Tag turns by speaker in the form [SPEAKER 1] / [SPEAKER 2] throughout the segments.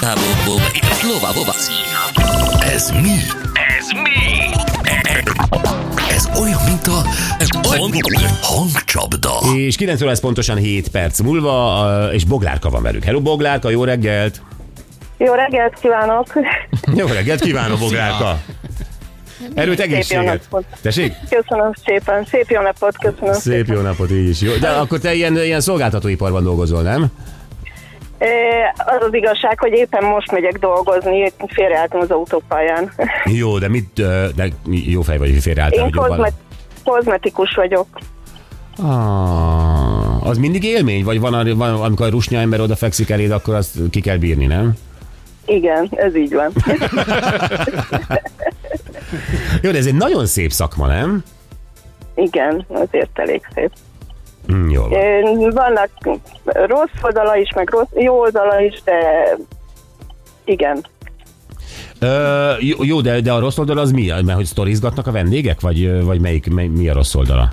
[SPEAKER 1] Slova, bova.
[SPEAKER 2] Ez mi?
[SPEAKER 3] Ez mi?
[SPEAKER 2] Ez olyan, mint a hangcsapda.
[SPEAKER 4] És 9 óra lesz pontosan 7 perc múlva, ö, és Boglárka van velünk. Hello Boglárka, jó reggelt!
[SPEAKER 5] Jó reggelt kívánok!
[SPEAKER 4] Jó reggelt, kívánom Boglárka! Erőt, egészséget!
[SPEAKER 5] napot.
[SPEAKER 4] Tessék?
[SPEAKER 5] Köszönöm szépen, szép jó napot, köszönöm.
[SPEAKER 4] Szép jó napot, így is jó. De akkor te ilyen, ilyen szolgáltatóiparban dolgozol, nem?
[SPEAKER 5] Ö, Az az igazság, hogy éppen most megyek dolgozni, félreálltam az autópályán.
[SPEAKER 4] Jó, de mit, ö, de jó fej vagy, hogy félreálltál,
[SPEAKER 5] Én
[SPEAKER 4] hogy jobban-
[SPEAKER 5] kozmet- kozmetikus vagyok.
[SPEAKER 4] Ah, az mindig élmény? Vagy van, ar- van, amikor a rusnya ember odafekszik eléd, akkor azt ki kell bírni, nem?
[SPEAKER 5] Igen, ez így van.
[SPEAKER 4] Jó, de ez egy nagyon szép szakma, nem?
[SPEAKER 5] Igen, azért elég szép.
[SPEAKER 4] Hm, jól van.
[SPEAKER 5] Ö, Vannak rossz oldala is, meg rossz, jó oldala is, de igen.
[SPEAKER 4] Ö, jó- jó, de, de a rossz oldal az mi? Mert hogy sztorizgatnak a vendégek? Vagy, vagy melyik, mely, mi a rossz oldala?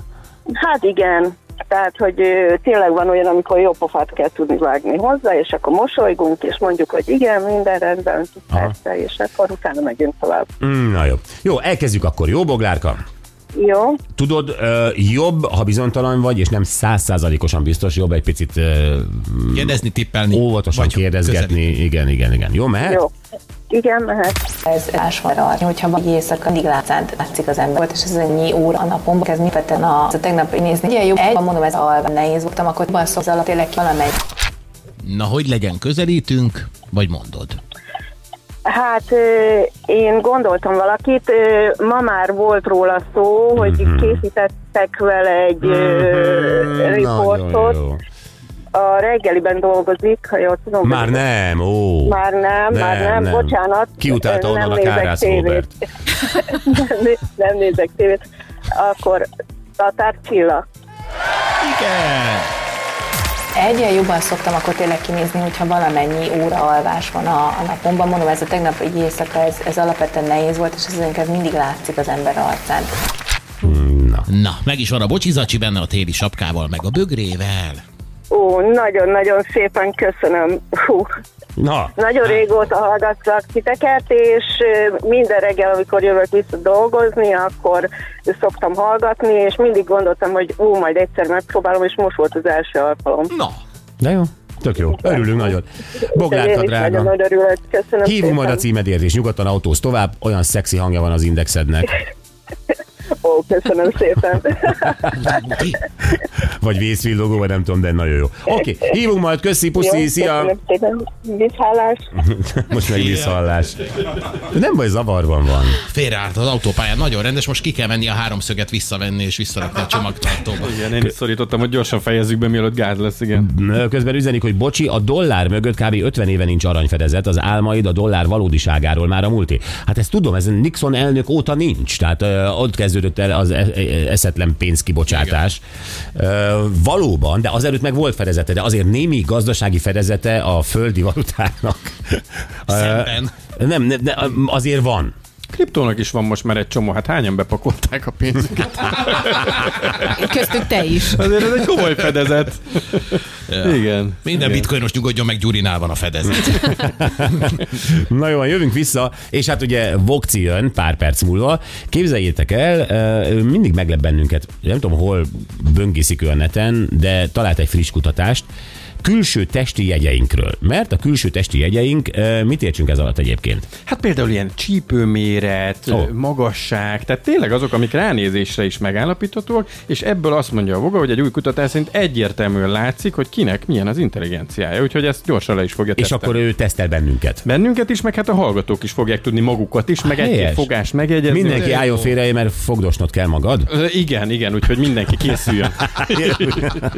[SPEAKER 5] Hát igen, tehát, hogy ö, tényleg van olyan, amikor jó pofát kell tudni vágni hozzá, és akkor mosolygunk, és mondjuk, hogy igen, minden rendben, persze, és akkor utána megyünk tovább.
[SPEAKER 4] Mm, na jó. Jó, elkezdjük akkor. Jó, Boglárka?
[SPEAKER 5] Jó?
[SPEAKER 4] Tudod, ö, jobb, ha bizonytalan vagy, és nem százszázalékosan biztos, jobb egy picit ö,
[SPEAKER 1] Kérdezni, tippelni.
[SPEAKER 4] óvatosan
[SPEAKER 1] Vagy
[SPEAKER 4] kérdezgetni. Igen, igen, igen. Jó, mehet?
[SPEAKER 5] Jó. Igen, mehet.
[SPEAKER 6] Ez ásvaral, hogyha vagy éjszaka, mindig látszánt látszik az ember volt, és ez ennyi óra a napomban kezd mifetten a, az a tegnap nézni. Ugye jó, egy, ha mondom, ez alban nehéz voltam, akkor jobban szó, az alatt tényleg valamelyik.
[SPEAKER 1] Na, hogy legyen, közelítünk, vagy mondod?
[SPEAKER 5] Hát ö, én gondoltam valakit, ö, ma már volt róla szó, hogy
[SPEAKER 4] Mhm.
[SPEAKER 5] készítettek vele egy ö,
[SPEAKER 4] Nagyon
[SPEAKER 5] riportot.
[SPEAKER 4] jó.
[SPEAKER 5] A reggeliben dolgozik, ha jól tudom.
[SPEAKER 4] Már nem, ó.
[SPEAKER 5] Már nem, már nem, bocsánat.
[SPEAKER 4] Kiutálta
[SPEAKER 5] Ö,
[SPEAKER 4] onnan a
[SPEAKER 5] nézek
[SPEAKER 4] Kárász
[SPEAKER 5] tévét.
[SPEAKER 4] Robert.
[SPEAKER 5] nem, né- nem nézek tévét. Akkor Tatár Csilla.
[SPEAKER 1] Igen.
[SPEAKER 6] Egyre jobban szoktam akkor tényleg kinézni, hogyha valamennyi óra alvás van a, a napomban. Mondom, ez a tegnap egy éjszaka, ez, ez alapvetően nehéz volt, és ez, ez mindig látszik az ember arcán.
[SPEAKER 1] Na, meg is van a bocsizacsi benne a téli sapkával, meg a bögrével.
[SPEAKER 5] Ó, nagyon-nagyon szépen köszönöm. Hú,
[SPEAKER 4] Na,
[SPEAKER 5] nagyon régóta hallgatlak titeket, és ö, minden reggel, amikor jövök vissza dolgozni, akkor szoktam hallgatni, és mindig gondoltam, hogy ú, majd egyszer megpróbálom, és most volt az első alkalom.
[SPEAKER 1] Na,
[SPEAKER 4] de jó. Tök jó. Örülünk nagyon. Boglárka,
[SPEAKER 5] Én is
[SPEAKER 4] drága.
[SPEAKER 5] nagyon örülök, köszönöm
[SPEAKER 4] Hívunk majd a
[SPEAKER 5] szépen.
[SPEAKER 4] címedért, és nyugodtan autóz tovább. Olyan szexi hangja van az indexednek.
[SPEAKER 5] Ó, köszönöm szépen.
[SPEAKER 4] Vagy vészvillogó, vagy nem tudom, de nagyon jó. Oké, hívunk majd, köszi, puszi,
[SPEAKER 5] Jó,
[SPEAKER 4] szia!
[SPEAKER 5] Köszönöm szépen. Viszhálás.
[SPEAKER 4] Most meg visszahallás. De nem baj, zavarban van.
[SPEAKER 1] félreállt az autópályán, nagyon rendes, most ki kell menni a háromszöget visszavenni és visszarakni a csomagtartóba.
[SPEAKER 7] Igen, én is szorítottam, hogy gyorsan fejezzük be, mielőtt gáz lesz, igen.
[SPEAKER 4] Ö, Közben üzenik, hogy bocsi, a dollár mögött kb. 50 éve nincs aranyfedezet, az álmaid a dollár valódiságáról már a múlté. Hát ezt tudom, ez Nixon elnök óta nincs, tehát ö, ott kezdődött el az e- e- eszetlen pénzkibocsátás. Ö, valóban, de azelőtt meg volt fedezete, de azért némi gazdasági fedezete a földi valutának. Ö,
[SPEAKER 1] Szemben.
[SPEAKER 4] Nem, nem, nem, azért van.
[SPEAKER 7] Kriptónak is van most már egy csomó, hát hányan bepakolták a pénzüket?
[SPEAKER 8] Köztük te is.
[SPEAKER 7] Azért ez egy komoly fedezet. Ja. Igen.
[SPEAKER 1] Minden bitcoinos nyugodjon meg, Gyurinál van a fedezet.
[SPEAKER 4] Na jó, van, jövünk vissza, és hát ugye Vokci jön pár perc múlva. Képzeljétek el, ö, ő mindig meglep bennünket, nem tudom hol böngészik ő a neten, de talált egy friss kutatást, külső testi jegyeinkről. Mert a külső testi jegyeink, ö, mit értsünk ez alatt egyébként?
[SPEAKER 7] Hát például ilyen csípőméret,
[SPEAKER 4] Ó.
[SPEAKER 7] oh. magasság, tehát tényleg azok, amik ránézésre is megállapíthatóak, és ebből azt mondja a voga, hogy egy új kutatás szerint egyértelműen látszik, hogy kinek milyen az intelligenciája, úgyhogy ezt gyorsan le is fogja
[SPEAKER 4] És akkor ő tesztel bennünket.
[SPEAKER 7] Bennünket is, meg hát a hallgatók is fogják tudni magukat is, meg
[SPEAKER 4] Hát Helyes.
[SPEAKER 7] egy fogás megjegyezni.
[SPEAKER 4] Mindenki álljon félre, mert fogdosnod kell magad.
[SPEAKER 7] Ö, Igen, igen, úgyhogy mindenki készüljön.